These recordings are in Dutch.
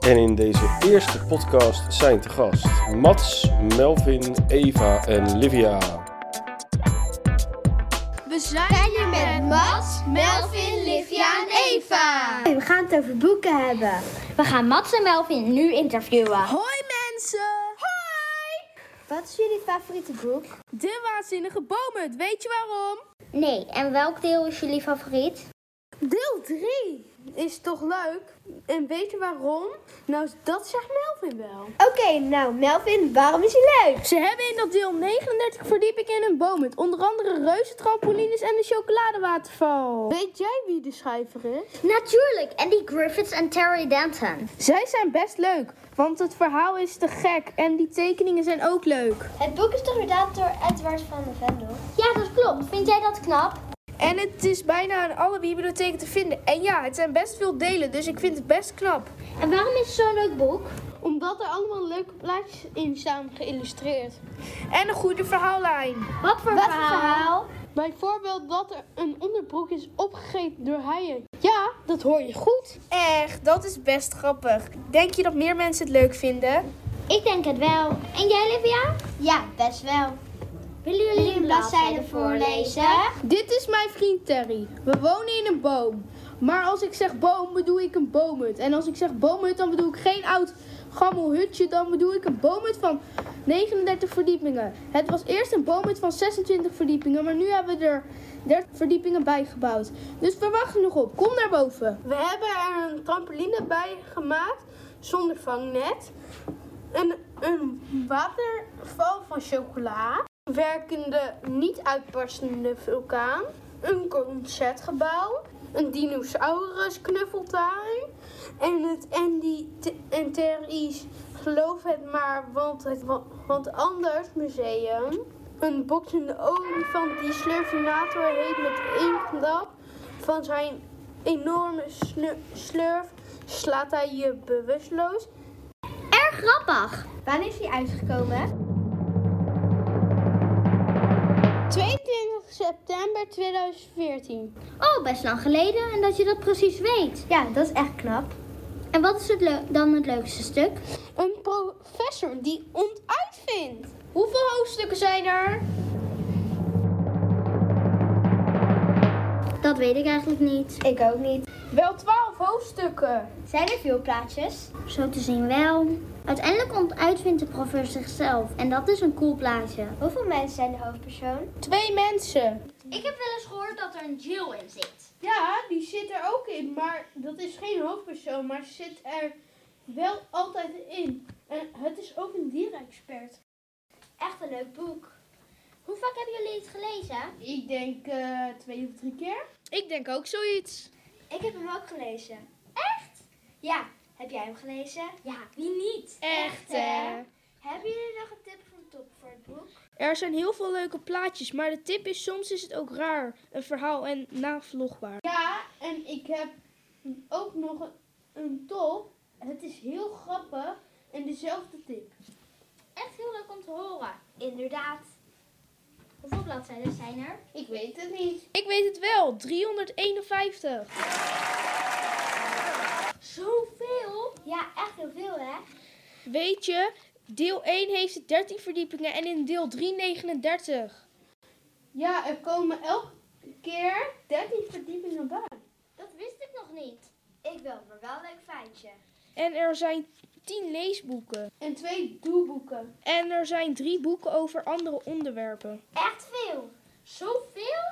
En in deze eerste podcast zijn te gast Mats, Melvin, Eva en Livia. We zijn zijn hier met Mats, Melvin, Livia en Eva. We gaan het over boeken hebben. We gaan Mats en Melvin nu interviewen. Hoi mensen! Hoi! Wat is jullie favoriete boek? De waanzinnige bomen, weet je waarom? Nee, en welk deel is jullie favoriet? Deel 3 is toch leuk? En weet je waarom? Nou, dat zegt Melvin wel. Oké, nou Melvin, waarom is hij leuk? Ze hebben in dat deel 39 verdiepingen in een boom met onder andere reuze trampolines en een chocoladewaterval. Weet jij wie de schrijver is? Natuurlijk, Andy Griffiths en Terry Denton. Zij zijn best leuk, want het verhaal is te gek en die tekeningen zijn ook leuk. Het boek is toch inderdaad door Edward van de Vendel? Ja, dat klopt. Vind jij dat knap? En het is bijna in alle bibliotheken te vinden. En ja, het zijn best veel delen, dus ik vind het best knap. En waarom is het zo'n leuk boek? Omdat er allemaal leuke plaatjes in staan geïllustreerd. En een goede verhaallijn. Wat voor verhaal? Bijvoorbeeld dat er een onderbroek is opgegeten door haaien. Ja, dat hoor je goed. Echt, dat is best grappig. Denk je dat meer mensen het leuk vinden? Ik denk het wel. En jij, Livia? Ja, best wel. Willen jullie een bladzijde voorlezen? Dit is mijn vriend Terry. We wonen in een boom. Maar als ik zeg boom, bedoel ik een boomhut. En als ik zeg boomhut, dan bedoel ik geen oud gammel hutje. Dan bedoel ik een boomhut van 39 verdiepingen. Het was eerst een boomhut van 26 verdiepingen, maar nu hebben we er 30 verdiepingen bij gebouwd. Dus we wachten nog op. Kom naar boven. We hebben er een trampoline bij gemaakt zonder vangnet. Een, een waterval van chocola. Werkende niet uitbarstende vulkaan. Een concertgebouw. Een dinosaurus knuffeltuin. En het Andy T- en Terry's geloof het maar, want het wa- want anders museum. Een boksende olifant die Slurfinator heet met één knap van zijn enorme snu- slurf slaat hij je bewusteloos. Erg grappig. Wanneer is hij uitgekomen? 22 september 2014. Oh, best lang geleden en dat je dat precies weet. Ja, dat is echt knap. En wat is het leu- dan het leukste stuk? Een professor die ontuit vindt. Hoeveel hoofdstukken zijn er? Dat weet ik eigenlijk niet. Ik ook niet. Wel 12 hoofdstukken. Zijn er veel plaatjes? Zo te zien wel. Uiteindelijk ontuitvindt de professor zichzelf en dat is een cool plaatje. Hoeveel mensen zijn de hoofdpersoon? Twee mensen. Ik heb wel eens gehoord dat er een Jill in zit. Ja, die zit er ook in, maar dat is geen hoofdpersoon, maar ze zit er wel altijd in. En het is ook een dierenexpert. Echt een leuk boek. Hoe vaak hebben jullie het gelezen? Ik denk eh, twee of drie keer. Ik denk ook zoiets. Ik heb hem ook gelezen. Echt? Ja, heb jij hem gelezen? Ja, wie niet? Echt hè? Hebben jullie nog een tip van top voor het boek? Er zijn heel veel leuke plaatjes, maar de tip is soms is het ook raar. Een verhaal en navlogbaar. Ja, en ik heb ook nog een, een top. Het is heel grappig en dezelfde tip. Echt heel leuk om te horen. Inderdaad. Hoeveel bladzijden zijn er? Ik weet het niet. Ik weet het wel. 351. Zoveel? Ja, echt heel veel hè? Weet je, deel 1 heeft 13 verdiepingen en in deel 3 39. Ja, er komen elke keer 13 verdiepingen bij. Dat wist ik nog niet. Ik wel, maar wel een leuk feitje. En er zijn 10 leesboeken. En 2 doelboeken. En er zijn 3 boeken over andere onderwerpen. Echt veel. Zoveel?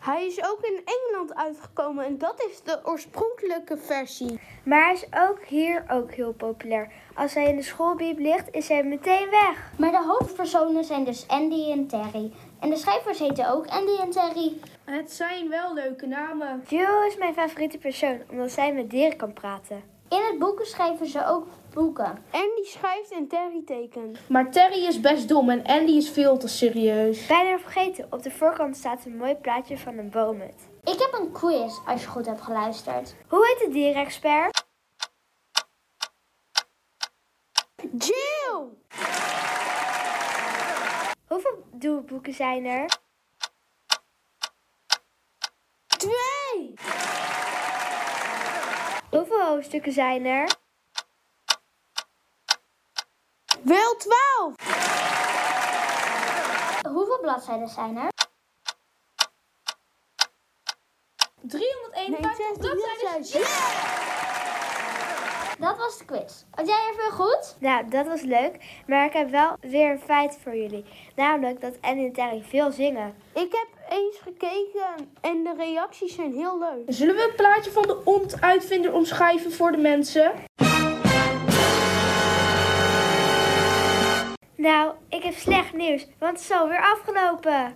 Hij is ook in Engeland uitgekomen en dat is de oorspronkelijke versie. Maar hij is ook hier ook heel populair. Als hij in de schoolbieb ligt, is hij meteen weg. Maar de hoofdpersonen zijn dus Andy en Terry. En de schrijvers heten ook Andy en Terry. Het zijn wel leuke namen. Jill is mijn favoriete persoon, omdat zij met dieren kan praten. In het boek schrijven ze ook boeken. Andy schrijft en Terry tekent. Maar Terry is best dom en Andy is veel te serieus. Bijna vergeten, op de voorkant staat een mooi plaatje van een boomhut. Ik heb een quiz als je goed hebt geluisterd. Hoe heet de dierenexpert? Jill! Hoeveel doelboeken zijn er? Twee! Hoeveel hoofdstukken zijn er? tel 12. Hoeveel bladzijden zijn er? 351 bladzijden. Dat was de quiz. Had jij er veel goed? Nou, dat was leuk, maar ik heb wel weer een feit voor jullie. Namelijk dat Annie en Terry veel zingen. Ik heb eens gekeken en de reacties zijn heel leuk. Zullen we het plaatje van de ont-uitvinder omschrijven voor de mensen? Nou, ik heb slecht nieuws, want het is alweer afgelopen.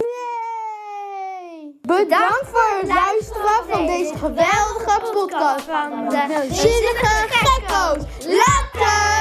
Bedankt voor het luisteren van deze geweldige podcast van de Zinnige Gekko's. Later!